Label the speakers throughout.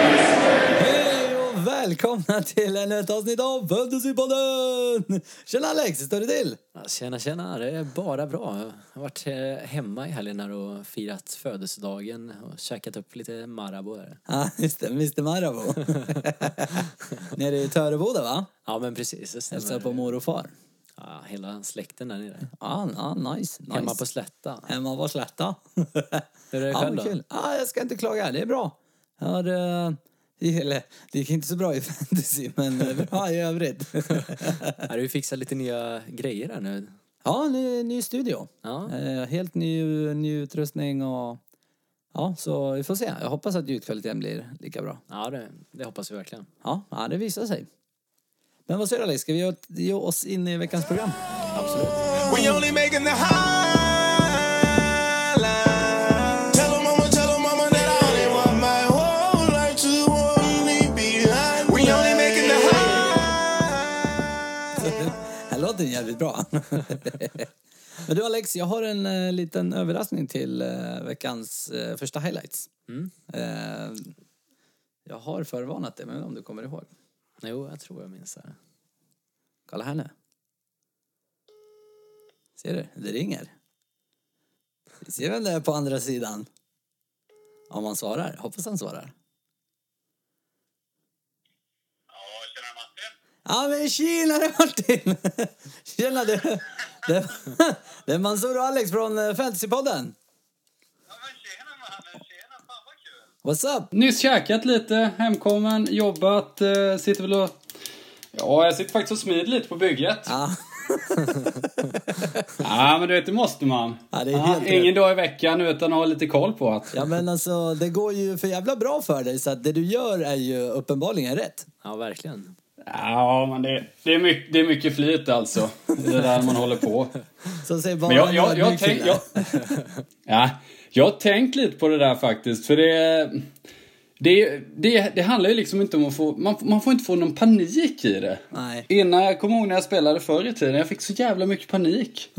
Speaker 1: Hej och välkomna till ännu ett avsnitt av Fantasypodden! Tjena Alex, hur står det till?
Speaker 2: Ja, Tjena, tjena. Det är bara bra. Jag har varit eh, hemma i helgen här och firat födelsedagen och käkat upp lite Marabou där.
Speaker 1: Ja, just det, Mr Marabou. Nere i Töreboda va?
Speaker 2: Ja, men precis. Det
Speaker 1: Hälsar
Speaker 2: stämmer.
Speaker 1: på mor och far.
Speaker 2: Ja, hela släkten där nere.
Speaker 1: Ja, ja nice, nice.
Speaker 2: Hemma på Slätta.
Speaker 1: Hemma på Slätta.
Speaker 2: Hur är det
Speaker 1: ja,
Speaker 2: själv
Speaker 1: men
Speaker 2: då?
Speaker 1: kul. Ja, jag ska inte klaga, det är bra. Jag har, eh, eller, det gick inte så bra i fantasy, men eh, bra i övrigt.
Speaker 2: Har du fixat lite nya grejer här nu?
Speaker 1: ja, ny, ny studio.
Speaker 2: Ja,
Speaker 1: Eh, helt ny, ny utrustning och... Ja, så vi får se. Jag hoppas att ljudkvaliteten blir lika bra.
Speaker 2: ja det, det hoppas vi verkligen.
Speaker 1: Ja, ja det visar sig. Men vad säger du Alex, ska vi ge- ge oss in i veckans program?
Speaker 3: We only making the highlights. Tell 'em I'ma tell 'em I'ma that I only want my whole life to hold me behind. We only making the highlights.
Speaker 1: Det här låter jävligt bra. Men du Alex, jag har en eh, liten överraskning till eh, veckans eh, första highlights. Eh, jag har förvarnat dig, men om du kommer ihåg.
Speaker 2: Jo, jag tror jag minns det. här.
Speaker 1: Kolla här nu. Ser du? Det ringer. Vi ser vem det är på andra sidan. Om han svarar. Hoppas han svarar. Ja, men tjenare Martin! Tjena, det, det, det är Mansour och Alex från eh, Fantasypodden. What's up?
Speaker 4: Nyss käkat lite, hemkommen, jobbat, eh, sitter väl och... Ja, jag sitter faktiskt och smider lite på bygget. Ja,
Speaker 1: Ja,
Speaker 4: men du vet, det måste man.
Speaker 1: Ja, det är helt rätt.
Speaker 4: ingen dag i veckan utan att ha lite koll på att...
Speaker 1: ja, men alltså, det går ju för jävla bra för dig så att det du gör är ju uppenbarligen rätt.
Speaker 2: Ja, verkligen.
Speaker 4: Ja, men det, det, är, mycket, det är mycket flyt alltså. Det är där man håller på.
Speaker 1: Så säg bara
Speaker 4: Men jag, jag, jag,
Speaker 1: nu,
Speaker 4: tänk,
Speaker 1: killar.
Speaker 4: jag, ja, jag har tänkt lite på det där faktiskt, för det... Det, det, det handlar ju liksom inte om att få... Man, man får inte få någon panik i det.
Speaker 1: Nej.
Speaker 4: Innan jag kommer ihåg när jag spelade förr i tiden, jag fick så jävla mycket panik.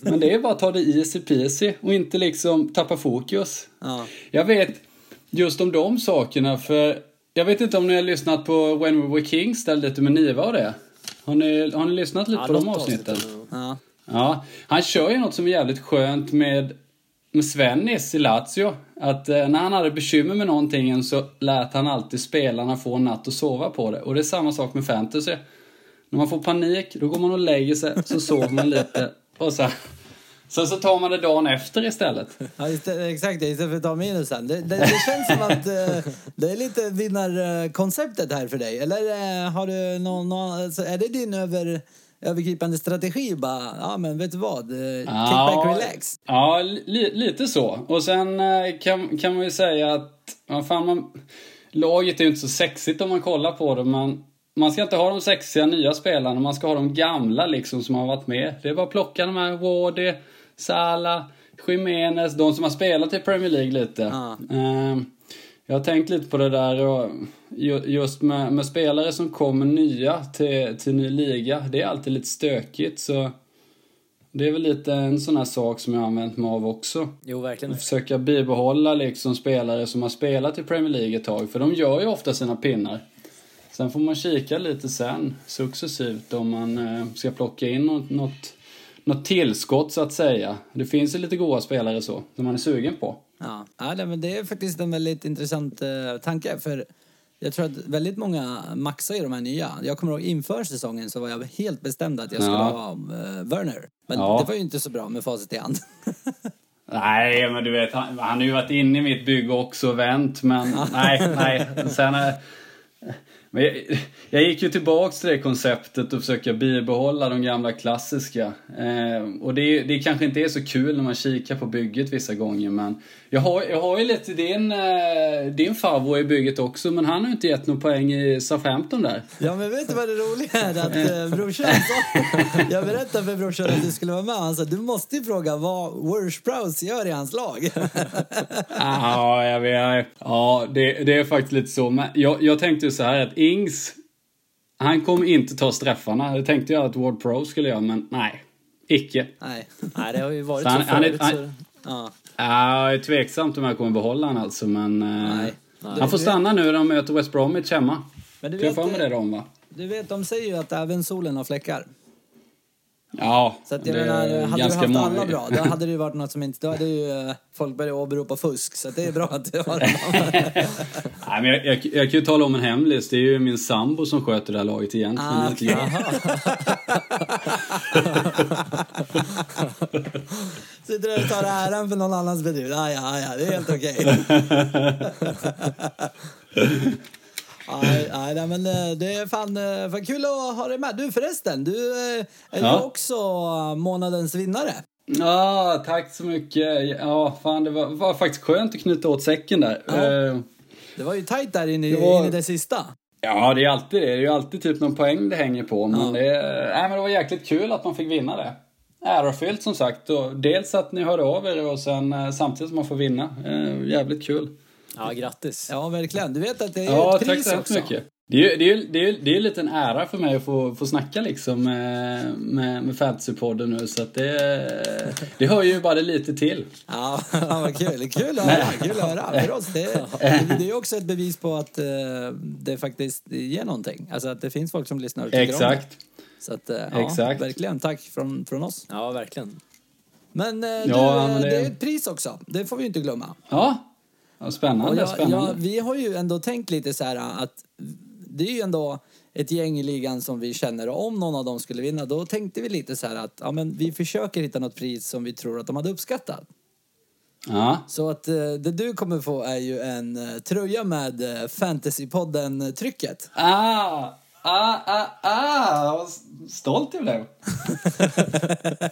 Speaker 4: Men det är bara att ta det easy peasy och inte liksom tappa fokus.
Speaker 1: Ja.
Speaker 4: Jag vet just om de sakerna, för jag vet inte om ni har lyssnat på When We Were Kings där lite med Niva och det. Har ni, har ni lyssnat lite
Speaker 2: Ja,
Speaker 4: på de
Speaker 2: något
Speaker 4: avsnitten?
Speaker 2: avsnitt ändå.
Speaker 1: Ja.
Speaker 4: Ja, han kör ju något som är jävligt skönt med, med Svennis i Lazio. Att eh, när han hade bekymmer med någonting så lät han alltid spelarna få en natt att sova på det. Och det är samma sak med fantasy. När man får panik, då går man och lägger sig, så sover man lite och så. Sen så tar man det dagen efter istället.
Speaker 1: Ja, just det, exakt. det, Istället för att ta minusen. Det, det, det känns som att eh, det är lite vinnarkonceptet här för dig. Eller eh, har du någon, någon, alltså, är det din över, övergripande strategi? Bara, ja, men vet du vad? Eh, Kick back, relax.
Speaker 4: Ja, li, lite så. Och sen eh, kan, kan man ju säga att vad fan man, laget är ju inte så sexigt om man kollar på det. Man, man ska inte ha de sexiga nya spelarna, man ska ha de gamla liksom som har varit med. Det är bara att plocka de här Wardy, Salah, Jimenez, de som har spelat i Premier League lite.
Speaker 1: Ja.
Speaker 4: Ehm, jag har tänkt lite på det där och ju- just med, med spelare som kommer nya till, till ny liga. Det är alltid lite stökigt så det är väl lite en sån här sak som jag har använt mig av också.
Speaker 2: Jo, verkligen.
Speaker 4: Att försöka bibehålla liksom spelare som har spelat i Premier League ett tag, för de gör ju ofta sina pinnar. Sen får man kika lite sen, successivt, om man eh, ska plocka in något, något, något tillskott så att säga. Det finns ju lite goda spelare så, som man är sugen på.
Speaker 1: Ja. Ja, nej, men det är faktiskt en väldigt intressant eh, tanke. För jag tror att väldigt många maxar ju de här nya. Jag kommer ihåg inför säsongen så var jag helt bestämd att jag skulle
Speaker 4: Ja.
Speaker 1: ha eh, Werner. Men
Speaker 4: Ja.
Speaker 1: det var ju inte så bra med facit i hand.
Speaker 4: Nej, men du vet, han, han har ju varit inne i mitt bygge också och vänt, men nej, nej. Sen, eh, men jag, jag gick ju tillbaks till det konceptet och försöka bibehålla de gamla klassiska. Eh, och det, är- det kanske inte är så kul när man kikar på bygget vissa gånger, men jag har, jag har ju lite din, eh, din favvo i bygget också, men han har ju inte gett någon poäng i Southampton där.
Speaker 1: Ja, men vet du vad det roliga är? Att eh, brorsan sa... Jag berättade för brorsan att du skulle vara med. Han sa du måste ju fråga vad Worsh Prowse gör i hans lag.
Speaker 4: Ja, jag vet. Ja, det, det är faktiskt lite så. Men jag, jag tänkte ju så här att Ings Han kommer inte ta straffarna. Det tänkte jag att Ward Pro skulle göra, men nej. Icke.
Speaker 1: Nej.
Speaker 2: Nej, det har ju varit
Speaker 4: Så
Speaker 2: så,
Speaker 4: han- han är-
Speaker 2: förut.
Speaker 4: han-
Speaker 2: så...
Speaker 1: Ja.
Speaker 4: Ja, jag är tveksamt om jag kommer behålla han alltså, men... eh,
Speaker 1: Nej.
Speaker 4: Han får stanna nu när de möter West Bromwich hemma.
Speaker 1: Men du
Speaker 4: Kan jag
Speaker 1: vet,
Speaker 4: få med
Speaker 1: eh,
Speaker 4: det då, va?
Speaker 1: Du vet, de säger ju att även solen har fläckar.
Speaker 4: Ja,
Speaker 1: Så att jag
Speaker 4: det är
Speaker 1: menar, hade du
Speaker 4: ganska
Speaker 1: haft
Speaker 4: många-
Speaker 1: alla bra, då hade det ju varit något som inte... Då hade ju eh, folk börjat åberopa fusk, så att det är bra att du har en annan.
Speaker 4: Nej, men jag, jag, jag kan ju tala om en hemlis. Det är ju min sambo som sköter det här laget egentligen.
Speaker 1: Ah,
Speaker 4: inte jag.
Speaker 1: Sitter där och tar äran för någon annans bedrift. Ah, ja, ja, det är helt okej. Nej, nej, nej, men eh, det är fan, eh, fan kul att ha dig med. Du förresten, du eh, är ju
Speaker 4: Ja.
Speaker 1: också månadens vinnare.
Speaker 4: Ja, tack så mycket. Ja, fan, det var, var faktiskt skönt att knyta åt säcken där. Eh,
Speaker 1: Det var ju tajt där inne, i-
Speaker 4: Det var-
Speaker 1: in i det sista.
Speaker 4: Ja, det är alltid det. Det är ju alltid typ någon poäng det hänger på. Men, det, nej, men det var jäkligt kul att man fick vinna det. Ärofyllt som sagt. Och dels att ni hörde av er och sen eh, samtidigt som man får vinna. Eh, jävligt kul.
Speaker 2: Ja, grattis.
Speaker 1: Ja, verkligen. Du vet att det är
Speaker 4: Ja,
Speaker 1: ett
Speaker 4: tack
Speaker 1: pris
Speaker 4: så hemskt
Speaker 1: också.
Speaker 4: mycket. Det är ju det är, ju- det är, ju- det är lite en ära för mig att få, få snacka liksom med, med, med Fantasypodden nu så att det, det hör ju bara lite till.
Speaker 1: Ja, fan vad kul. Kul att höra. Kul att höra. För oss, det, det är ju också ett bevis på att eh, det faktiskt ger någonting. Alltså att det finns folk som lyssnar och tycker om det.
Speaker 4: Exakt.
Speaker 1: Så att, eh, ja,
Speaker 4: Exakt.
Speaker 1: verkligen. Tack från, från oss.
Speaker 2: Ja, verkligen.
Speaker 1: Men, eh, du,
Speaker 4: Ja, men
Speaker 1: det...
Speaker 4: det-
Speaker 1: är ju ett pris också. Det får vi ju inte glömma.
Speaker 4: Ja. ja
Speaker 1: Och
Speaker 4: spännande,
Speaker 1: jag,
Speaker 4: spännande.
Speaker 1: jag, vi har ju ändå tänkt lite så här eh, att det är ju ändå ett gäng i ligan som vi känner och om någon av dem skulle vinna då tänkte vi lite så här att ja, men vi försöker hitta något pris som vi tror att de hade uppskattat.
Speaker 4: Ja.
Speaker 1: Så att eh, det du kommer få är ju en eh, tröja med eh, Fantasypodden-trycket.
Speaker 4: Ah, ah, ah, ah. Vad stolt jag blev.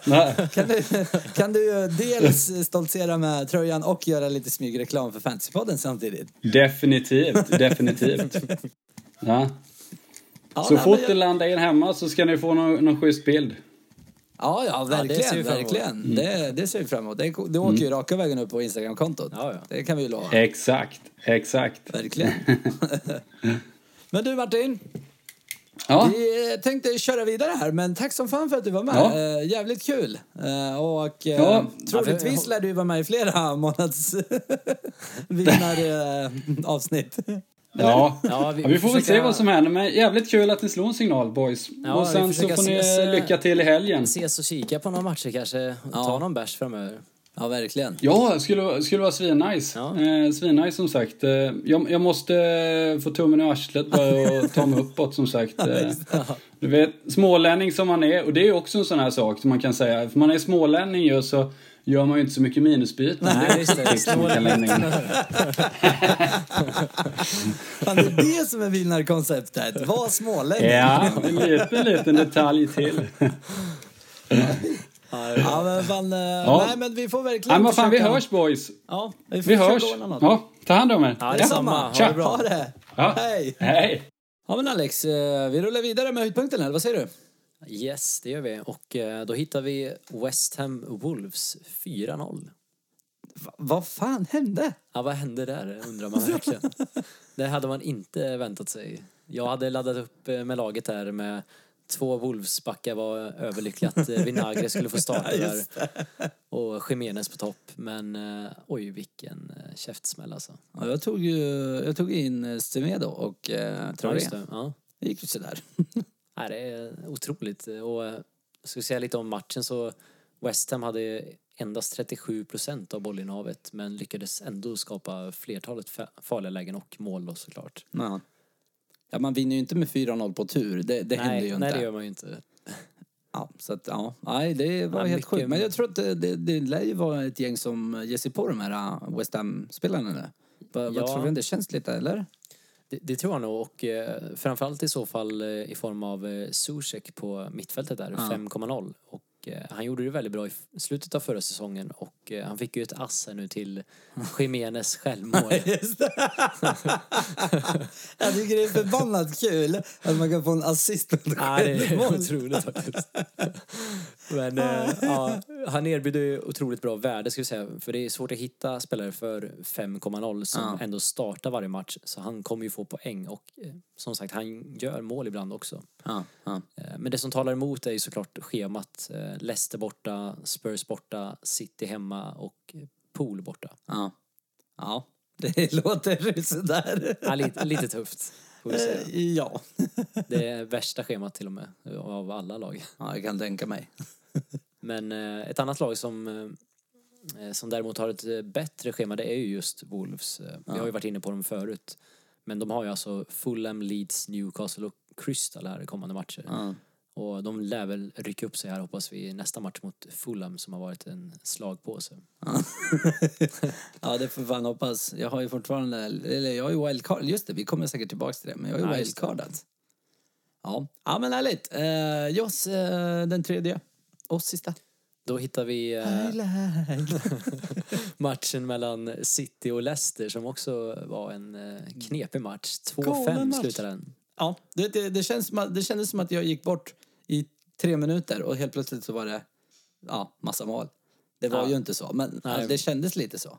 Speaker 4: Nej.
Speaker 1: Kan du, kan du eh, dels stoltsera med tröjan och göra lite smygreklam för Fantasypodden samtidigt?
Speaker 4: Definitivt, definitivt. Ja.
Speaker 1: Ja,
Speaker 4: Så
Speaker 1: nej,
Speaker 4: fort
Speaker 1: men
Speaker 4: det
Speaker 1: jag-
Speaker 4: landar in hemma så ska ni få någon, någon schysst bild.
Speaker 1: Ja, ja, verkligen.
Speaker 2: ser vi fram emot.
Speaker 1: verkligen. Det,
Speaker 4: Mm.
Speaker 1: det ser vi fram emot. Det, det åker ju raka vägen upp på Instagram-kontot.
Speaker 2: Ja, ja.
Speaker 1: Det kan vi ju lova.
Speaker 4: Eh. Exakt, exakt.
Speaker 1: Verkligen. men du Martin,
Speaker 4: Ja.
Speaker 1: vi eh, tänkte köra vidare här, men tack som fan för att du var med.
Speaker 4: Ja.
Speaker 1: Eh, jävligt kul. Eh, och eh,
Speaker 4: Ja.
Speaker 1: troligtvis lär du vara med i flera månads eh, vinnaravsnitt.
Speaker 4: Ja,
Speaker 2: Ja, vi-
Speaker 4: vi, ja, vi får väl se
Speaker 2: försöka-
Speaker 4: vad som händer. Men jävligt kul att ni slog en signal boys.
Speaker 2: Ja,
Speaker 4: och
Speaker 2: vi
Speaker 4: sen så
Speaker 2: försöker
Speaker 4: får ni
Speaker 2: ses, eh,
Speaker 4: lycka till i helgen.
Speaker 2: Ses och kika på några matcher kanske. och Ta någon bärs framöver.
Speaker 1: ja, verkligen.
Speaker 4: Ja, skulle, skulle vara svinnice.
Speaker 2: Ja.
Speaker 4: Eh, svinnice som sagt. Eh, jag, jag måste eh, få tummen ur arslet bara och ta mig uppåt som sagt. Eh, du vet, smålänning som man är. Och det är också en sån här sak som man kan säga. För man är smålänning ju så gör man ju inte så mycket minusbyten.
Speaker 2: Nej, just det.
Speaker 4: är ett tips som man kan lämna in.
Speaker 1: Fan, det är det som är vinnarkonceptet. Var smålänning.
Speaker 4: Ja, en liten, liten detalj till.
Speaker 1: Ja, men fan, eh, Nej, men vi får verkligen
Speaker 4: Nej, men fan, vi
Speaker 1: försöka-
Speaker 4: hörs boys.
Speaker 1: Ja, vi får
Speaker 4: Vi
Speaker 1: försöka
Speaker 4: hörs.
Speaker 1: ordna något.
Speaker 4: Ja, ta hand om er.
Speaker 2: Ja,
Speaker 1: Detsamma.
Speaker 2: detsamma.
Speaker 1: Ha
Speaker 4: Tja.
Speaker 1: det bra. Ha det.
Speaker 4: Ja.
Speaker 1: Hej.
Speaker 4: Hej.
Speaker 1: Ja, men Alex, eh, vi rullar vidare med höjdpunkten eller vad säger du?
Speaker 2: Yes, det gör vi. Och eh, då hittar vi West Ham Wolves 4-0.
Speaker 1: Va- vad fan hände?
Speaker 2: Ja, vad hände där undrar man verkligen. Det hade man inte väntat sig. Jag hade laddat upp eh, med laget där med två Wolvesbackar var överlyckliga att eh, Vinagre skulle få starta där. Och Jiménez på topp. Men eh, oj, vilken eh, käftsmäll alltså.
Speaker 1: Ja, jag, tog ju, jag tog in eh, Semedo och eh,
Speaker 2: Ja,
Speaker 1: Traoré.
Speaker 2: just det. Ja.
Speaker 1: Det gick ju sådär.
Speaker 2: Nej, det är otroligt. Och eh, ska vi säga lite om matchen så West Ham hade endast 37 procent av bollinnehavet men lyckades ändå skapa flertalet fa- farliga lägen och mål då såklart.
Speaker 1: ja. ja, man vinner ju inte med 4-0 på tur. Det, det händer ju
Speaker 2: nej,
Speaker 1: inte.
Speaker 2: nej, det gör man ju inte.
Speaker 1: Ja, så att, ja. Nej, det var
Speaker 2: Ja,
Speaker 1: helt
Speaker 2: mycket-
Speaker 1: sjukt. Men jag tror att det, det, det lär ju vara ett gäng som ger sig på de här äh, West Ham-spelarna nu. Va, Vad
Speaker 2: Ja.
Speaker 1: tror du? Det känns lite, eller?
Speaker 2: Det, det tror jag nog och eh, framförallt i så fall eh, i form av eh, Zuzek på mittfältet där, 5,0. Och eh, han gjorde det väldigt bra i f- slutet av förra säsongen och eh, han fick ju ett ass här nu till Jiménez självmål.
Speaker 1: Just det. jag tycker det är förbannat kul att man kan få en assist på ett
Speaker 2: Ja, det är
Speaker 1: självmål.
Speaker 2: otroligt faktiskt. Men eh, ja, han erbjuder ju otroligt bra värde ska vi säga. För det är svårt att hitta spelare för 5,0 som
Speaker 5: Ja.
Speaker 2: ändå startar varje match. Så han kommer ju få poäng och eh, som sagt han gör mål ibland också.
Speaker 5: Ja, ja.
Speaker 2: Eh, Men det som talar emot är ju såklart schemat. Eh, Leicester borta, Spurs borta, City hemma och eh, Pool borta.
Speaker 5: ja. ja.
Speaker 1: Det låter sådär.
Speaker 2: Ja, lite, lite tufft. får vi säga.
Speaker 1: Eh, Ja,
Speaker 2: Det är värsta schemat till och med eh, av alla lag.
Speaker 1: ja jag kan tänka mig.
Speaker 2: Men eh, ett annat lag som, eh, som däremot har ett eh, bättre schema det är ju just Wolves. Eh, Vi har ju varit inne på dem förut. Men de har ju alltså Fulham, Leeds, Newcastle och Crystal här i kommande matcher.
Speaker 5: Ja.
Speaker 2: Och de lär väl rycka upp sig här hoppas vi i nästa match mot Fulham som har varit en slagpåse.
Speaker 1: Ja, det får fan hoppas. Jag har ju fortfarande, eller jag har ju wildcard. Just det, vi kommer säkert tillbaks till det, men jag har ju
Speaker 2: Ja, just det.
Speaker 1: wildcardat. Ja. ja, men härligt. Eh, Joss, eh, den tredje. Oss sista.
Speaker 2: Då hittar vi eh, matchen mellan City och Leicester som också var en eh, knepig match. 2-5
Speaker 1: Galen match.
Speaker 2: slutade den.
Speaker 1: Ja, det, det, det, känns som att, det kändes som att jag gick bort i tre minuter och helt plötsligt så var det ja, massa mål. Det var
Speaker 2: Ja.
Speaker 1: ju inte så, men alltså, det kändes lite så.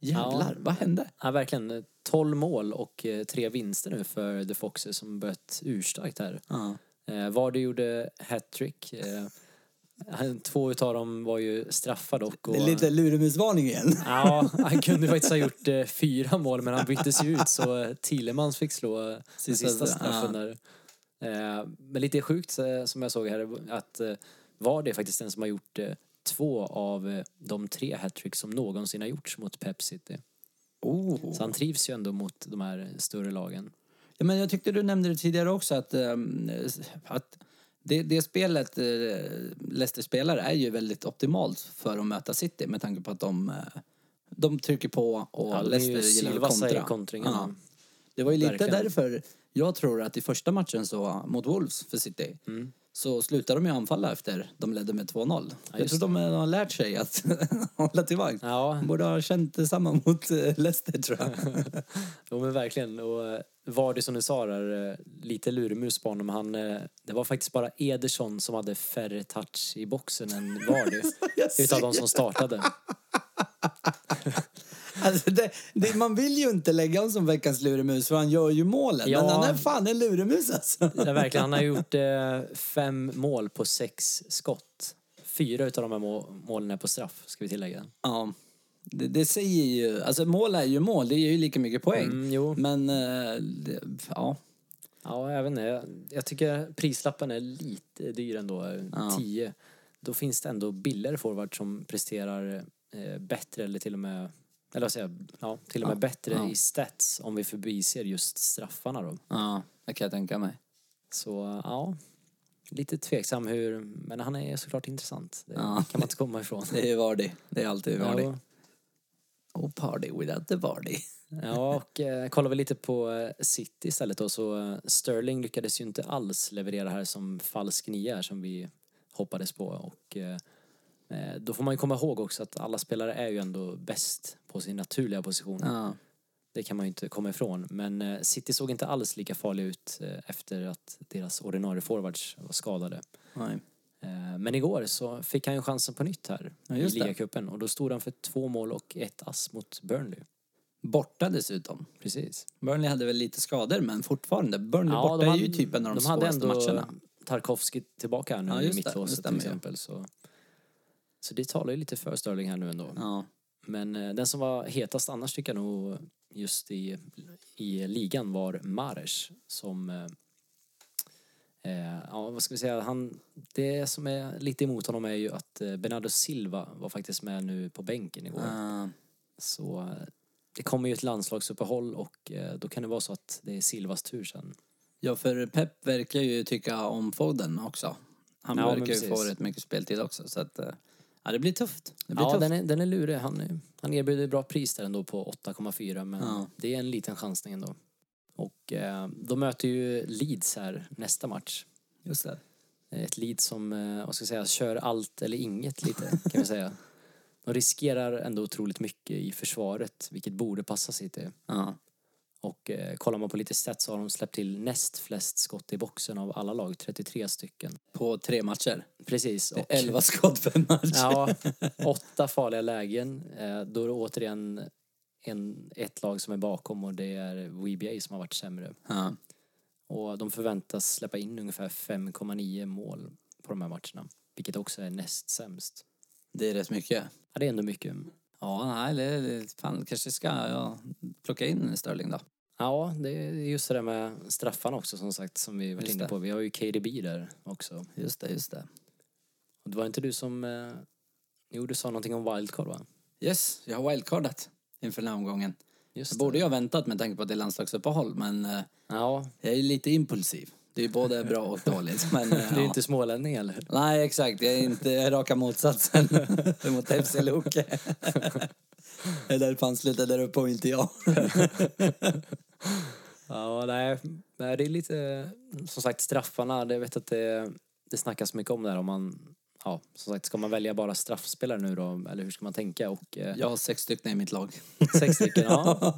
Speaker 1: Jävlar, vad hände?
Speaker 2: Ja, verkligen. 12 mål och eh, tre vinster nu för The Foxes som börjat urstarkt här.
Speaker 5: Ja.
Speaker 2: Eh, Vardy gjorde hattrick. Eh, han- två utav dem var ju straffar dock. Och,
Speaker 1: Det är lite luremusvarning igen.
Speaker 2: Ja, han kunde faktiskt ha gjort eh, fyra mål men han byttes ju ut så eh, Thielemans fick slå eh, den
Speaker 1: Sista-
Speaker 2: sista straffen där. Eh, men lite sjukt eh, som jag såg här är att eh, var det faktiskt den som har gjort eh, två av eh, de tre hattrick som någonsin har gjorts mot Pep City.
Speaker 1: Oh.
Speaker 2: Så han trivs ju ändå mot de här större lagen.
Speaker 1: Ja, men jag tyckte du nämnde det tidigare också att, ehm, att det, det spelet eh, Leicester spelar är ju väldigt optimalt för att möta City med tanke på att de, eh, de trycker på och
Speaker 2: Ja, det är ju
Speaker 1: Leicester gillar att
Speaker 2: Silvassa i
Speaker 1: kontra.
Speaker 2: kontringen.
Speaker 1: Ja. Det var ju lite
Speaker 2: Verkligen.
Speaker 1: därför jag tror att i första matchen så, mot Wolves för City
Speaker 2: Mm.
Speaker 1: så slutade de ju anfalla efter de ledde med 2-0. jag
Speaker 2: just
Speaker 1: tror de, eh, har lärt sig att hålla tillbaka.
Speaker 2: Ja.
Speaker 1: De borde ha känt detsamma mot eh, Leicester tror jag.
Speaker 2: Jo men verkligen. Och eh, var det som du sa där, eh, lite luremus på honom. Han, eh, det var faktiskt bara Ederson som hade färre touch i boxen än Vardy. utav de som startade.
Speaker 1: Alltså det, det, man vill ju inte lägga honom som veckans luremus för han gör ju målen.
Speaker 2: Ja.
Speaker 1: Men han är fan en luremus alltså.
Speaker 2: Ja, verkligen. Han har gjort eh, fem mål på sex skott. Fyra utav de här må- målen är på straff, ska vi tillägga.
Speaker 1: Ja. Det, det säger ju, alltså mål är ju mål, det ger ju lika mycket poäng.
Speaker 2: Mm, jo.
Speaker 1: Men, eh, det, ja.
Speaker 2: Ja, jag vet inte. Jag, jag tycker prislappen är lite dyr ändå. 10. Då finns det ändå billigare forward som presterar eh, bättre eller till och med eller vad säger jag? Ja, till och med bättre i stats om vi förbiser just straffarna då.
Speaker 1: Ja, det kan jag tänka mig.
Speaker 2: Så ja, lite tveksam hur, men han är såklart intressant. Det kan man inte komma ifrån.
Speaker 1: Det är ju Vardy. Det är alltid Vardy.
Speaker 2: Ja,
Speaker 1: Och party without the Vardy.
Speaker 2: Ja, och eh, kollar vi lite på eh, City istället då, så eh, Sterling lyckades ju inte alls leverera här som falsk nia här som vi hoppades på och eh, eh, då får man ju komma ihåg också att alla spelare är ju ändå bäst på sin naturliga position.
Speaker 1: Ja.
Speaker 2: Det kan man ju inte komma ifrån. Men eh, City såg inte alls lika farliga ut eh, efter att deras ordinarie forwards var skadade.
Speaker 1: Nej.
Speaker 2: Eh, Men igår så fick han ju chansen på nytt här
Speaker 1: Ja,
Speaker 2: i
Speaker 1: just det.
Speaker 2: ligacupen och då stod han för två mål och ett ass mot Burnley.
Speaker 1: Borta dessutom.
Speaker 2: Precis.
Speaker 1: Burnley hade väl lite skador men fortfarande. Burnley borta är ju typ en av de, svåraste matcherna.
Speaker 2: Tarkovsky tillbaka här nu
Speaker 1: Ja,
Speaker 2: i
Speaker 1: just det. Det
Speaker 2: mittlåset till
Speaker 1: stämmer ju.
Speaker 2: exempel. Så, så det talar ju lite för Sterling här nu ändå.
Speaker 1: Ja.
Speaker 2: Men eh, den som var hetast annars tycker jag nog just i, i ligan var Mares som eh, eh, Ja, vad ska vi säga? Han, det som är lite emot honom är ju att eh, Bernardo Silva var faktiskt med nu på bänken igår.
Speaker 1: Ja.
Speaker 2: Så eh, det kommer ju ett landslagsuppehåll och eh, då kan det vara så att det är Silvas tur sen.
Speaker 1: Ja, för Pep verkar ju tycka om Foden också. Han
Speaker 2: Ja, men
Speaker 1: verkar ju
Speaker 2: precis.
Speaker 1: få rätt mycket speltid också. Så att, eh, ja, det blir tufft. Det blir
Speaker 2: Ja,
Speaker 1: tufft.
Speaker 2: den är, den är lurig. Han, är- han erbjuder bra pris där ändå på 8,4 men
Speaker 1: Ja.
Speaker 2: det är en liten chansning ändå. Och eh, de möter ju Leeds här nästa match.
Speaker 1: Just det.
Speaker 2: Ett Leeds som, eh, vad ska jag säga, kör allt eller inget lite kan vi säga. De riskerar ändå otroligt mycket i försvaret vilket borde passa City.
Speaker 1: Ja.
Speaker 2: eh. Och eh, kollar man på lite stats så har de släppt till näst flest skott i boxen av alla lag, 33 stycken.
Speaker 1: På tre matcher.
Speaker 2: Precis. Och,
Speaker 1: 11 skott per match.
Speaker 2: ja, åtta farliga lägen. Eh, då är det återigen en, ett lag som är bakom och det är WBA som har varit sämre.
Speaker 1: Ja.
Speaker 2: Och de förväntas släppa in ungefär 5,9 mål på de här matcherna. Vilket också är näst sämst.
Speaker 1: Det är rätt mycket.
Speaker 2: Ja, det är ändå mycket.
Speaker 1: Ja, nej, det- det, fan, kanske ska jag plocka in Sterling då.
Speaker 2: Ja, det är just det där med straffarna också som sagt som vi varit
Speaker 1: Just
Speaker 2: inne
Speaker 1: det.
Speaker 2: på. Vi har ju KDB där också.
Speaker 1: Just det, just det.
Speaker 2: Och det var inte du som... Eh... Jo, du sa någonting om wildcard va?
Speaker 1: Yes, jag har wildcardat inför den här omgången.
Speaker 2: Just
Speaker 1: Så borde jag ha väntat med tanke på att det är landslagsuppehåll, men eh,
Speaker 2: det. Ja,
Speaker 1: jag är ju lite impulsiv. Det är ju både bra och dåligt. Men, eh,
Speaker 2: du är ju
Speaker 1: ja.
Speaker 2: inte smålänning eller?
Speaker 1: Nej, exakt. Jag är inte raka motsatsen mot FC Loke. Det är därför han slutade där uppe och inte jag.
Speaker 2: Ja, nej. nej. Det är lite... Som sagt, straffarna. Det- Jag vet att det, det snackas mycket om det här om man... Ja, som sagt, ska man välja bara straffspelare nu då? Eller hur ska man tänka? Och, eh,
Speaker 1: Jag har sex stycken i mitt lag.
Speaker 2: Sex stycken, ja.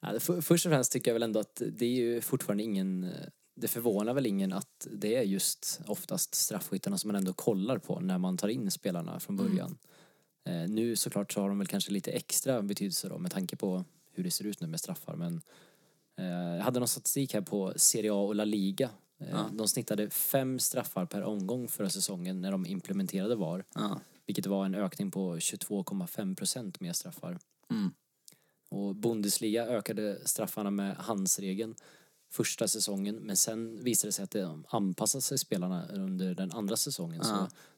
Speaker 2: ja det- för- först och främst tycker jag väl ändå att det är ju fortfarande ingen... Det förvånar väl ingen att det är just oftast straffskyttarna som man ändå kollar på när man tar in spelarna från början. Eh, nu såklart så har de väl kanske lite extra betydelse då med tanke på hur det ser ut nu med straffar men eh, jag hade någon statistik här på Serie A och La Liga. Eh, De snittade fem straffar per omgång förra säsongen när de implementerade VAR.
Speaker 1: Ja.
Speaker 2: Vilket var en ökning på 22,5 procent mer straffar.
Speaker 1: Mm.
Speaker 2: Och Bundesliga ökade straffarna med handsregeln första säsongen men sen visade det sig att de anpassade sig spelarna under den andra säsongen så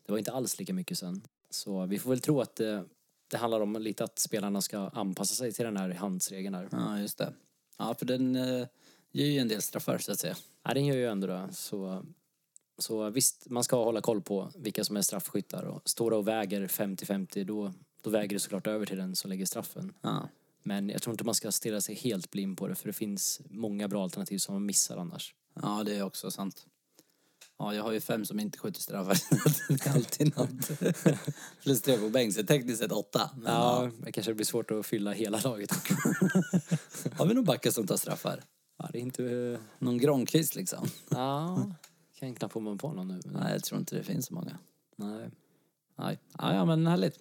Speaker 2: det var inte alls lika mycket sen. Så vi får väl tro att det, det handlar om lite att spelarna ska anpassa sig till den här handsregeln här.
Speaker 1: ja, just det. Ja, för den eh, ger ju en del straffar, så att säga.
Speaker 2: Ja, den gör ju ändå det. Så, så visst, man ska hålla koll på vilka som är straffskyttar. Och står det och väger 50-50 då, då väger det såklart över till den som lägger straffen.
Speaker 1: Ja.
Speaker 2: Men jag tror inte man ska stirra sig helt blind på det för det finns många bra alternativ som man missar annars.
Speaker 1: Ja, det är också sant. Ja, jag har ju fem som inte skjuter straffar. det är alltid något. Plus tre på bänk, så tekniskt sett åtta. Men, ja.
Speaker 2: Ja, det kanske blir svårt att fylla hela laget.
Speaker 1: Har vi någon backa som tar straffar?
Speaker 2: ja, det är inte...
Speaker 1: eh, Någon Granqvist liksom?
Speaker 2: Ja, kan knappt komma på någon nu.
Speaker 1: Nej, jag tror inte det finns så många.
Speaker 2: Nej.
Speaker 1: Nej, ja, ja men härligt.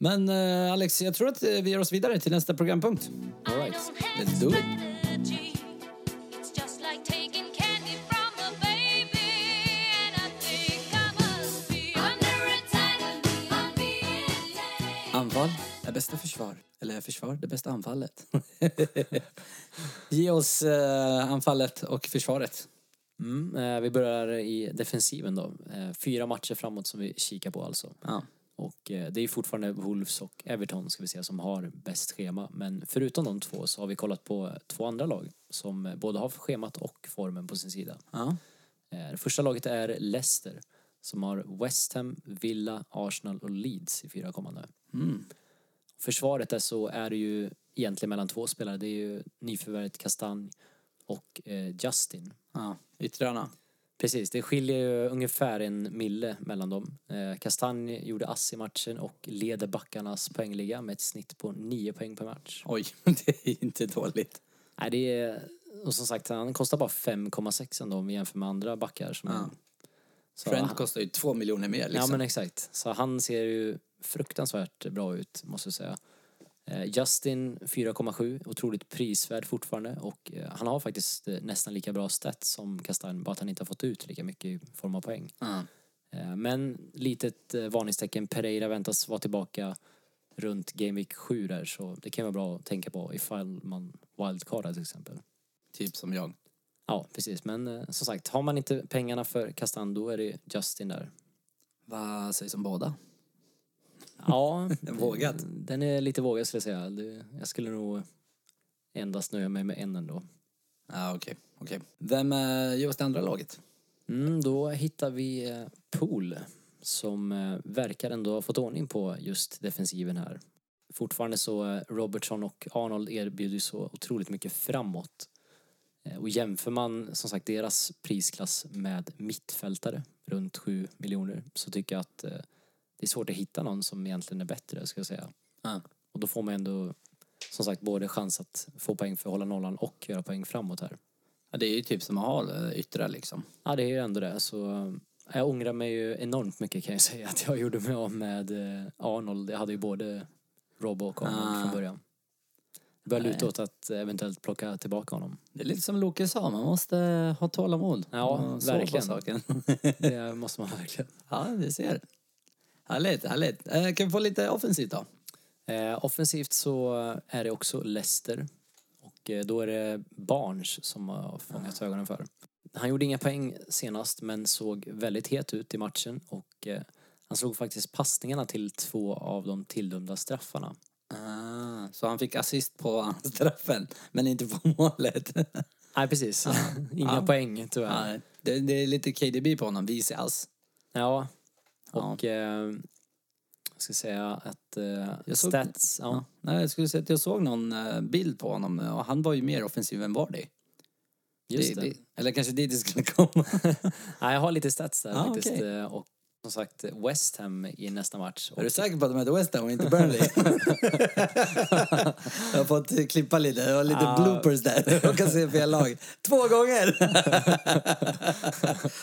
Speaker 1: Men eh, Alex, jag tror att eh, vi gör oss vidare till nästa programpunkt.
Speaker 2: All right.
Speaker 1: Let's do it.
Speaker 6: It's just like taking candy from a baby, and I think I must be under attack. I'm being attacked.
Speaker 1: Anfall är bästa försvar. Eller är försvar det bästa anfallet? Ge oss eh, anfallet och försvaret.
Speaker 2: Mm, eh, vi börjar i defensiven då. Eh, fyra matcher framåt som vi kikar på alltså.
Speaker 1: Ja.
Speaker 2: Och eh, det är ju fortfarande Wolves och Everton ska vi säga som har bäst schema. Men förutom de två så har vi kollat på två andra lag som eh, både har schemat och formen på sin sida.
Speaker 1: Ja.
Speaker 2: Eh, Det första laget är Leicester som har West Ham, Villa, Arsenal och Leeds i fyra kommande. Försvaret där så är det ju egentligen mellan två spelare. Det är ju nyförvärvet Kastanj och eh, Justin.
Speaker 1: ja. Yttrarna.
Speaker 2: Precis, det skiljer ju ungefär en mille mellan dem. Eh, Kastanj gjorde ass i matchen och leder backarnas poängliga med ett snitt på 9 poäng per match.
Speaker 1: Oj, det är inte dåligt.
Speaker 2: Nej, det är, och som sagt, han kostar bara 5,6 ändå om vi jämför med andra backar. Som
Speaker 1: Ja.
Speaker 2: Så
Speaker 1: Trent
Speaker 2: han-
Speaker 1: kostar ju två miljoner mer liksom.
Speaker 2: Ja men exakt. Så han ser ju fruktansvärt bra ut måste jag säga. Eh, Justin 4,7, otroligt prisvärd fortfarande och eh, han har faktiskt eh, nästan lika bra stats som Kastanj, bara att han inte har fått ut lika mycket i form av poäng.
Speaker 1: Ja.
Speaker 2: Eh, Men litet eh, varningstecken, Pereira väntas vara tillbaka runt Game Week 7 där så det kan vara bra att tänka på ifall man wildcardar till exempel.
Speaker 1: Typ som jag.
Speaker 2: Ja precis men eh, som sagt, har man inte pengarna för Kastanj då är det Justin där.
Speaker 1: Vad sägs om båda?
Speaker 2: Ja,
Speaker 1: Vågat.
Speaker 2: Den är lite vågad skulle jag säga. Det- Jag skulle nog endast nöja mig med en ändå.
Speaker 1: Ja, okej. okej. Vem eh, ger oss det andra laget?
Speaker 2: Mm, då hittar vi eh, Pool som eh, verkar ändå ha fått ordning på just defensiven här. Fortfarande så eh, Robertson och Arnold erbjuder så otroligt mycket framåt. Eh, Och jämför man som sagt deras prisklass med mittfältare runt 7 miljoner så tycker jag att eh, det är svårt att hitta någon som egentligen är bättre ska jag säga.
Speaker 1: Ja.
Speaker 2: Och då får man ändå som sagt både chans att få poäng för att hålla nollan och göra poäng framåt här.
Speaker 1: Ja, det är ju typ som att ha yttre liksom.
Speaker 2: Ja, det är ju ändå det. Så eh, jag ångrar mig ju enormt mycket kan jag säga att jag gjorde mig av med eh, Arnold. Jag hade ju både Robbo och Arnold
Speaker 1: Ah.
Speaker 2: från början. Det börjar luta åt att eventuellt plocka tillbaka honom.
Speaker 1: Det är lite som Loke sa, man måste ha tålamod.
Speaker 2: Ja,
Speaker 1: Och sova
Speaker 2: verkligen.
Speaker 1: Saken.
Speaker 2: Det måste man verkligen.
Speaker 1: ja, vi ser. Härligt, härligt. Eh, kan vi få lite offensivt då?
Speaker 2: Eh, offensivt så är det också Leicester. Och eh, då är det Barnes som har fångat ögonen för. Han gjorde inga poäng senast men såg väldigt het ut i matchen och eh, han slog faktiskt passningarna till två av de tilldömda straffarna.
Speaker 1: Ah, så han fick assist på straffen, men inte på målet.
Speaker 2: Nej precis, inga
Speaker 1: Ja.
Speaker 2: poäng tyvärr.
Speaker 1: Nej, det, det är lite KDB på honom, vis i ass.
Speaker 2: Ja, och eh, jag ska säga att eh,
Speaker 1: Jag såg-
Speaker 2: stats, ja.
Speaker 1: Ja. Nej, jag skulle säga att jag såg någon eh, bild på honom och han var ju mer offensiv än Vardy.
Speaker 2: just det.
Speaker 1: Eller kanske dit det skulle komma.
Speaker 2: Nej, jag har lite stats där
Speaker 1: Ah,
Speaker 2: faktiskt.
Speaker 1: okej.
Speaker 2: eh, Och som sagt, West Ham i nästa match. Och
Speaker 1: Är du säker på att de heter West Ham och inte Burnley? jag har fått klippa lite. Det var lite
Speaker 2: Ah.
Speaker 1: bloopers där. Jag kan se fel lag. Två gånger!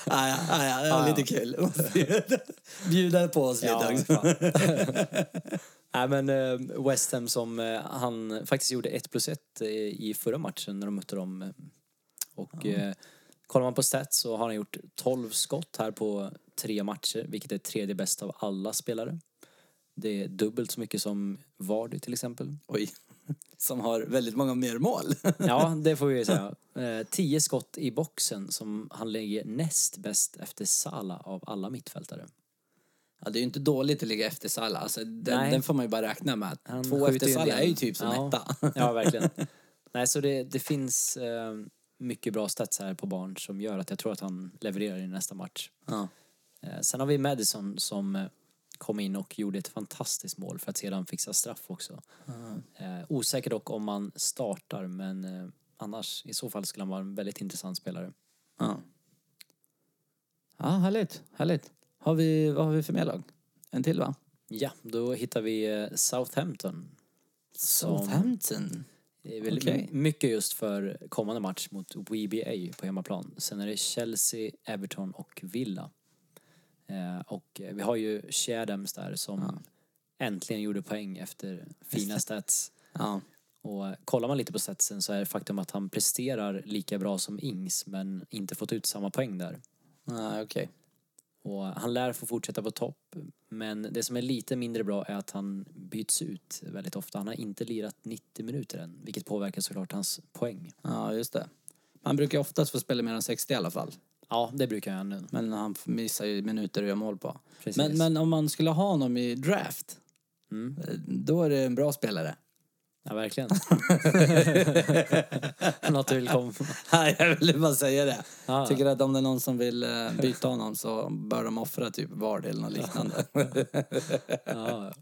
Speaker 1: ah, ja, ah, ja, det var lite kul. Bjuda på oss lite också.
Speaker 2: Nej, men eh, West Ham som eh, han faktiskt gjorde 1 plus 1 i förra matchen när de mötte dem. eh, Och eh, kollar man på stats så har han gjort 12 skott här på tre matcher, vilket är tredje bäst av alla spelare. Det är dubbelt så mycket som Vardy till exempel.
Speaker 1: Oj. Som har väldigt många mer mål.
Speaker 2: Ja, det får vi ju säga. Eh, tio skott i boxen som han lägger näst bäst efter Salah av alla mittfältare.
Speaker 1: Ja, det är ju inte dåligt att ligga efter Salah. Alltså, den,
Speaker 2: Nej.
Speaker 1: den får man ju bara räkna med.
Speaker 2: Han
Speaker 1: Två
Speaker 2: skjuter
Speaker 1: efter
Speaker 2: ju en
Speaker 1: Salah
Speaker 2: del.
Speaker 1: är ju typ som
Speaker 2: ja.
Speaker 1: etta.
Speaker 2: Ja, verkligen. Nej, så det, det finns eh, mycket bra stats här på barn som gör att jag tror att han levererar i nästa match.
Speaker 1: Ja.
Speaker 2: Eh, sen har vi Madison som eh, kom in och gjorde ett fantastiskt mål för att sedan fixa straff också. Eh, osäker dock om han startar, men eh, annars i så fall skulle han vara en väldigt intressant spelare.
Speaker 1: Ja. ja, härligt. Härligt. Har vi, vad har vi för mer lag? En till, va?
Speaker 2: Ja, då hittar vi eh, Southampton. Som-
Speaker 1: Southampton.
Speaker 2: Det är väl
Speaker 1: Okej.
Speaker 2: mycket just för kommande match mot WBA på hemmaplan. Sen är det Chelsea, Everton och Villa. Eh, och eh, vi har ju Shadams där som äntligen gjorde poäng efter fina stats.
Speaker 1: Ja.
Speaker 2: Och eh, kollar man lite på statsen så är det faktum att han presterar lika bra som Ings men inte fått ut samma poäng där.
Speaker 1: Ah, Okej.
Speaker 2: Och han lär få fortsätta på topp men det som är lite mindre bra är att han byts ut väldigt ofta. Han har inte lirat 90 minuter än vilket påverkar såklart hans poäng.
Speaker 1: Ja, just det. Man brukar oftast få spela mer än 60 i alla fall.
Speaker 2: Ja, det brukar jag nu.
Speaker 1: Men han missar ju minuter och gör mål på.
Speaker 2: Mm. Precis.
Speaker 1: Men, men om man skulle ha honom i draft,
Speaker 2: Mm.
Speaker 1: eh, då är det en bra spelare.
Speaker 2: Ja, verkligen. Något du vill komma
Speaker 1: Nej, jag ville bara säga det.
Speaker 2: Ja, ja.
Speaker 1: Tycker att om det är någon som vill eh, byta honom så bör de offra typ Vardy eller något liknande.
Speaker 2: ja.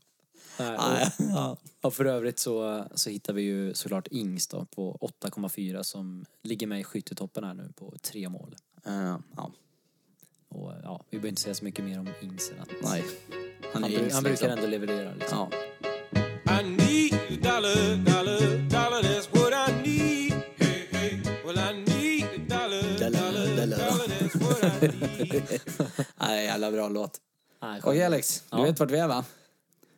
Speaker 1: Ja,
Speaker 2: Nej,
Speaker 1: ja.
Speaker 2: och, och för övrigt så, så hittar vi ju såklart Ings då på 8,4 som ligger med i skyttetoppen här nu på tre mål.
Speaker 1: Eh, ja.
Speaker 2: Och ja, vi behöver inte säga så mycket mer om Ings än att
Speaker 1: Nej. Han är
Speaker 2: han,
Speaker 1: ju
Speaker 2: bru-
Speaker 1: yngst
Speaker 2: han brukar
Speaker 1: liksom.
Speaker 2: ändå leverera liksom.
Speaker 1: Ja.
Speaker 7: I need a dollar, dollar, dollar. That's what I need. Hey, hey. Well, I need a dollar, dollar,
Speaker 1: dollar.
Speaker 7: dollar. That's what I need.
Speaker 1: Nej, jävla bra låt.
Speaker 2: Nej, skönt.
Speaker 1: Okej Alex,
Speaker 2: Ja.
Speaker 1: du vet vart vi är va?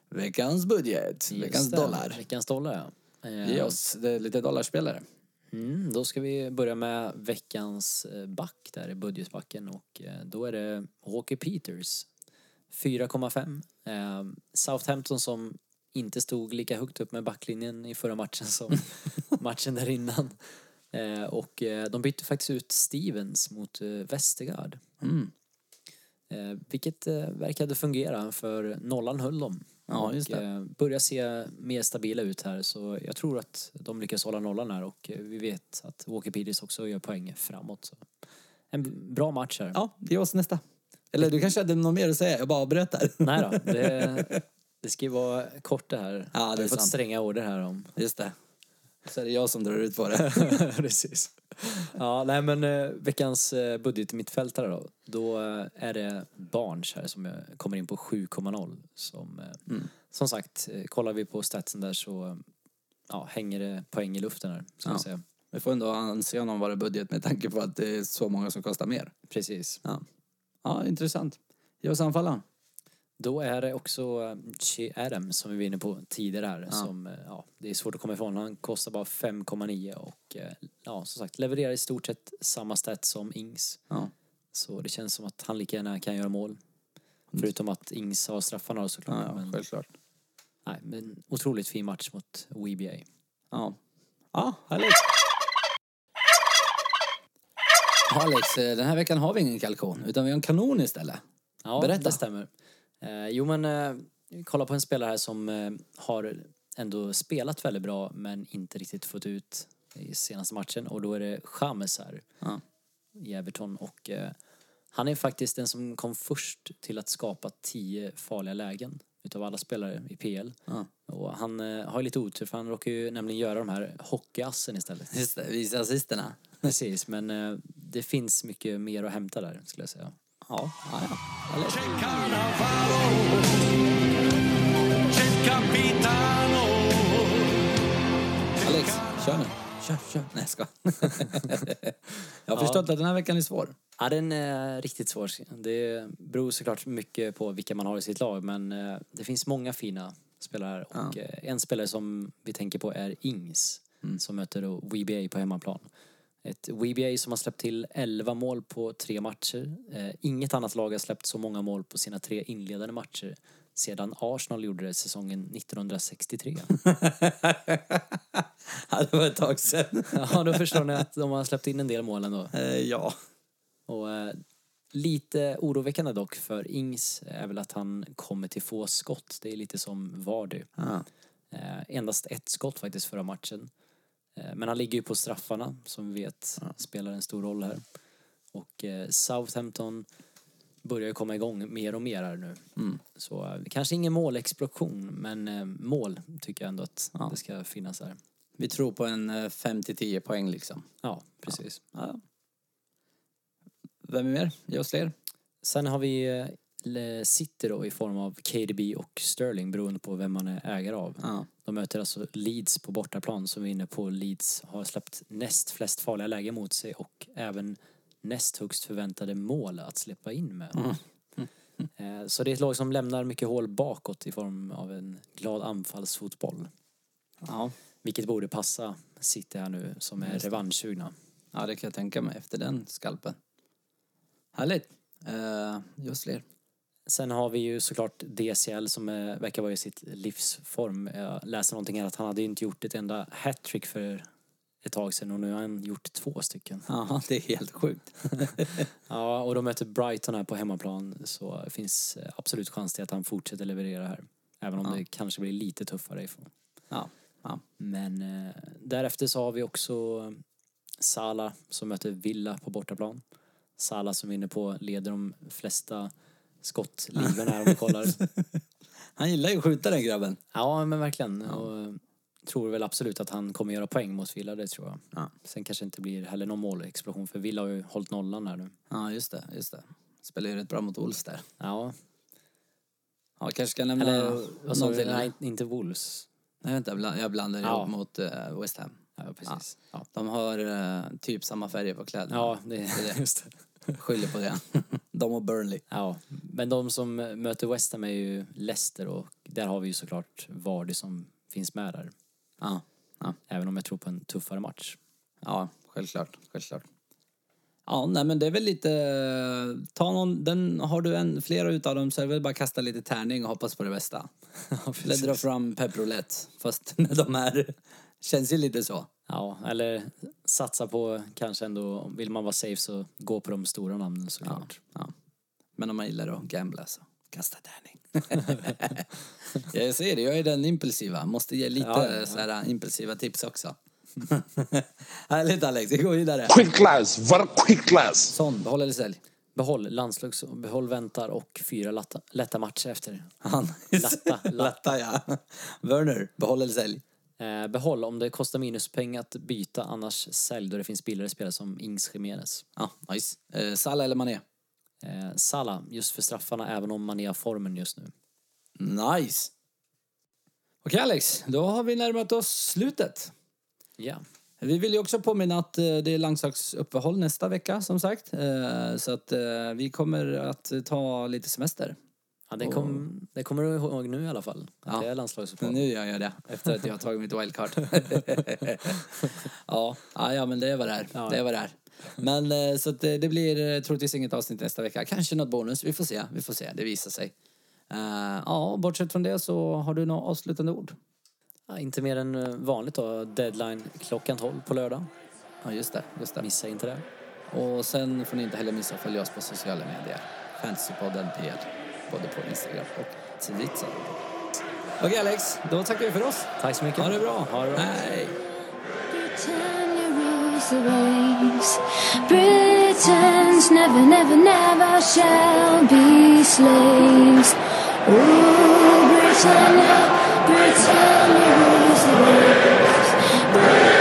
Speaker 1: Veckans budget,
Speaker 2: Just
Speaker 1: veckans
Speaker 2: det.
Speaker 1: dollar.
Speaker 2: Veckans dollar, ja. Eh,
Speaker 1: Ge oss det är lite dollarspelare.
Speaker 2: Mm, då ska vi börja med veckans eh, back där i budgetbacken och eh, då är det Walker Peters 4,5. Eh, Southampton som inte stod lika högt upp med backlinjen i förra matchen som matchen där innan. Eh, och eh, de bytte faktiskt ut Stevens mot eh, Vestergaard.
Speaker 1: Mm.
Speaker 2: Eh, vilket eh, verkade fungera för nollan höll dem.
Speaker 1: Ja, just
Speaker 2: Och,
Speaker 1: det.
Speaker 2: eh, börjar se mer stabila ut här så jag tror att de lyckas hålla nollan här och eh, vi vet att Walker Peters också gör poäng framåt. Så. En b- bra match här.
Speaker 1: Ja, ge oss nästa. Eller du kanske hade något mer att säga, jag bara avbröt där.
Speaker 2: Nej då, det, det ska ju vara kort det här.
Speaker 1: det är
Speaker 2: vi har fått
Speaker 1: sant.
Speaker 2: stränga order här om.
Speaker 1: Just det. Så är det jag som drar ut på det.
Speaker 2: Precis. Ja, nej men eh, veckans eh, budgetmittfältare då. Då eh, är det Barnes här som eh, kommer
Speaker 1: Mm.
Speaker 2: in på 7,0. Som, eh, som sagt, eh, kollar vi på statsen där så ja, hänger det poäng i luften här, ska
Speaker 1: Ja.
Speaker 2: vi säga.
Speaker 1: Vi får ändå anse honom vara budget med tanke på att det är så många som kostar mer.
Speaker 2: Precis.
Speaker 1: Ja, ja intressant. Ge oss anfallaren.
Speaker 2: Då är det också eh, CRM som vi var inne på tidigare här. Som, eh, ja, det är svårt att komma ifrån. Han kostar bara 5,9 och eh, ja, som sagt levererar i stort sett samma stat som Ings.
Speaker 1: Ja.
Speaker 2: Så det känns som att han lika gärna kan göra mål. Förutom att Ings har straffarna då såklart.
Speaker 1: Mm. Ja, ja,
Speaker 2: men,
Speaker 1: självklart.
Speaker 2: nej, men otroligt fin match mot WBA.
Speaker 1: Ja. Ja, härligt. Alex, eh, den här veckan har vi ingen kalkon, utan vi har en kanon istället.
Speaker 2: Ja,
Speaker 1: Berätta.
Speaker 2: det stämmer. Eh, jo, men eh, vi kollar på en spelare här som eh, har ändå spelat väldigt bra men inte riktigt fått ut i senaste matchen och då är det James här
Speaker 1: Ja.
Speaker 2: i Everton och eh, han är faktiskt den som kom först till att skapa tio farliga lägen utav alla spelare i PL.
Speaker 1: Ja.
Speaker 2: Och han eh, har ju lite otur för han råkar ju nämligen göra de här hockeyassen istället.
Speaker 1: Just det, visa assisterna.
Speaker 2: Precis, men eh, det finns mycket mer att hämta där skulle jag säga.
Speaker 1: Ja, ja, ja. Alex, kör nu. Kör, kör. Nej, jag skojar. Jag har förstått att den här veckan är svår.
Speaker 2: Ja, den är eh, riktigt svår. Det beror såklart mycket på vilka man har i sitt lag men eh, det finns många fina spelare här. och eh, en spelare som vi tänker på är Ings som möter då WBA på hemmaplan. Ett WBA som har släppt till 11 mål på tre matcher. Eh, Inget annat lag har släppt så många mål på sina tre inledande matcher sedan Arsenal gjorde det säsongen 1963.
Speaker 1: Ja, det var ett tag sedan.
Speaker 2: ja, då förstår ni att de har släppt in en del mål ändå.
Speaker 1: Eh, Ja.
Speaker 2: Och, eh, lite oroväckande dock för Ings eh, är väl att han kommer till få skott. Det är lite som Vardy.
Speaker 1: Ja.
Speaker 2: Eh, endast ett skott faktiskt förra matchen. Eh, men han ligger ju på straffarna som vi vet spelar en stor roll här. Och eh, Southampton börjar ju komma igång mer och mer här nu. Så eh, kanske ingen målexplosion men eh, mål tycker jag ändå att
Speaker 1: Ja.
Speaker 2: det ska finnas här.
Speaker 1: Vi tror på en eh, 5-10 poäng liksom.
Speaker 2: Ja, precis.
Speaker 1: Ja. Vem är mer? Ge oss fler.
Speaker 2: Sen har vi eh, Le- City då i form av KDB och Sterling beroende på vem man är ägare av.
Speaker 1: Ja.
Speaker 2: De möter alltså Leeds på bortaplan som vi är inne på. Leeds har släppt näst flest farliga lägen mot sig och även näst högst förväntade mål att släppa in med. Eh, Så det är ett lag som lämnar mycket hål bakåt i form av en glad anfallsfotboll.
Speaker 1: Ja.
Speaker 2: Vilket borde passa City här nu som är revanschsugna.
Speaker 1: ja, det kan jag tänka mig efter den skalpen. Härligt. Uh, ge oss fler.
Speaker 2: Sen har vi ju såklart DCL som eh, verkar vara i sitt livsform. Jag läste någonting här att han hade ju inte gjort ett enda hattrick för ett tag sedan och nu har han gjort två stycken.
Speaker 1: Ja, det är helt sjukt.
Speaker 2: Ja, och de möter Brighton här på hemmaplan så det finns eh, absolut chans till att han fortsätter leverera här. Även om det kanske blir lite tuffare ifrån.
Speaker 1: Ja. ja.
Speaker 2: Men eh, därefter så har vi också Sala som möter Villa på bortaplan. Sala som är inne på leder de flesta skottliven här om vi kollar.
Speaker 1: Han gillar ju att skjuta den grabben.
Speaker 2: Ja, men verkligen. Och eh, tror väl absolut att han kommer göra poäng mot Villa, det tror jag.
Speaker 1: Ja.
Speaker 2: Sen kanske inte blir heller någon målexplosion för Villa har ju hållit nollan här nu.
Speaker 1: Ja, just det. Just det. Spelar ju rätt bra mot Wolves där.
Speaker 2: Ja,
Speaker 1: Ja, kanske ska nämna
Speaker 2: eller vad sa
Speaker 1: någon
Speaker 2: du?
Speaker 1: till.
Speaker 2: Nej, inte Wolves.
Speaker 1: Nej, vänta. jag bla- Jag blandar ihop
Speaker 2: Ja.
Speaker 1: mot eh, West Ham.
Speaker 2: Ja, precis. Ja,
Speaker 1: De har eh, typ samma färger på kläderna.
Speaker 2: ja det är just det.
Speaker 1: Skyller på det. De och Burnley.
Speaker 2: Ja, men de som möter West Ham är ju Leicester och där har vi ju såklart Vardy som finns med där.
Speaker 1: Ja. Ja.
Speaker 2: Även om jag tror på en tuffare match.
Speaker 1: Ja, självklart. självklart. Ja, nej, men det är väl lite... Ta någon, den, har du en, flera utav dem så är det väl bara kasta lite tärning och hoppas på det bästa. Eller dra fram pepprolett. Fast med de här känns ju lite så.
Speaker 2: Ja, eller satsa på kanske ändå, vill man vara safe så gå på de stora namnen såklart.
Speaker 1: Ja. Men om man gillar att gambla så kasta tärning. jag säger det, jag är den impulsiva. Måste ge lite
Speaker 2: Ja, ja, ja.
Speaker 1: Så här, impulsiva tips också. Härligt Alex, vi går vidare.
Speaker 8: Quick class, var quick class.
Speaker 1: Son, behåll eller sälj?
Speaker 2: Behåll, landslags, behåll väntar och fyra latta, lätta matcher efter.
Speaker 1: Han.
Speaker 2: Latta, latta.
Speaker 1: Latta ja. Werner, behåll eller sälj?
Speaker 2: Eh, behåll om det kostar minuspeng att byta, annars sälj då det finns billigare spelare som Ings Jiménez.
Speaker 1: Ja, nice. Eh, Salah eller Mané?
Speaker 2: Eh, Salah, just för straffarna, även om man är av formen just nu.
Speaker 1: Nice! Okej Alex, då har vi närmat oss slutet.
Speaker 2: Ja.
Speaker 1: Vi vill ju också påminna att eh, det är langsaksuppehåll nästa vecka som sagt. Eh, Så att eh, vi kommer att ta lite semester.
Speaker 2: Ja, det, kom, det kommer du ihåg nu i alla fall. Att
Speaker 1: Ja.
Speaker 2: Det är landslagsuppehåll.
Speaker 1: Nu gör jag det, efter att jag har tagit mitt wildcard. ja, ja, ja, men det var det här.
Speaker 2: Ja.
Speaker 1: Det var det här. Men eh, så att det, det blir eh, troligtvis inget avsnitt nästa vecka. Kanske något bonus. Vi får se. Vi får se. Det visar sig. Eh, ja, bortsett från det så har du några avslutande ord?
Speaker 2: Ja, inte mer än eh, vanligt då. Deadline klockan 12 på lördag.
Speaker 1: Ja, just det. Just det.
Speaker 2: Missa inte det.
Speaker 1: Och sen får ni inte heller missa att följa oss på sociala medier. Fantasypodden PL. Både på Instagram och Twitter. Okej Alex, då tackar vi för oss.
Speaker 2: Tack så mycket.
Speaker 1: Ha det bra.
Speaker 2: Ha det bra.
Speaker 1: Hej!
Speaker 9: Pretend you raise the waves. Britain's never, never, never shall be slaves. Oh, Britain, Britain, you raise the waves. Britain,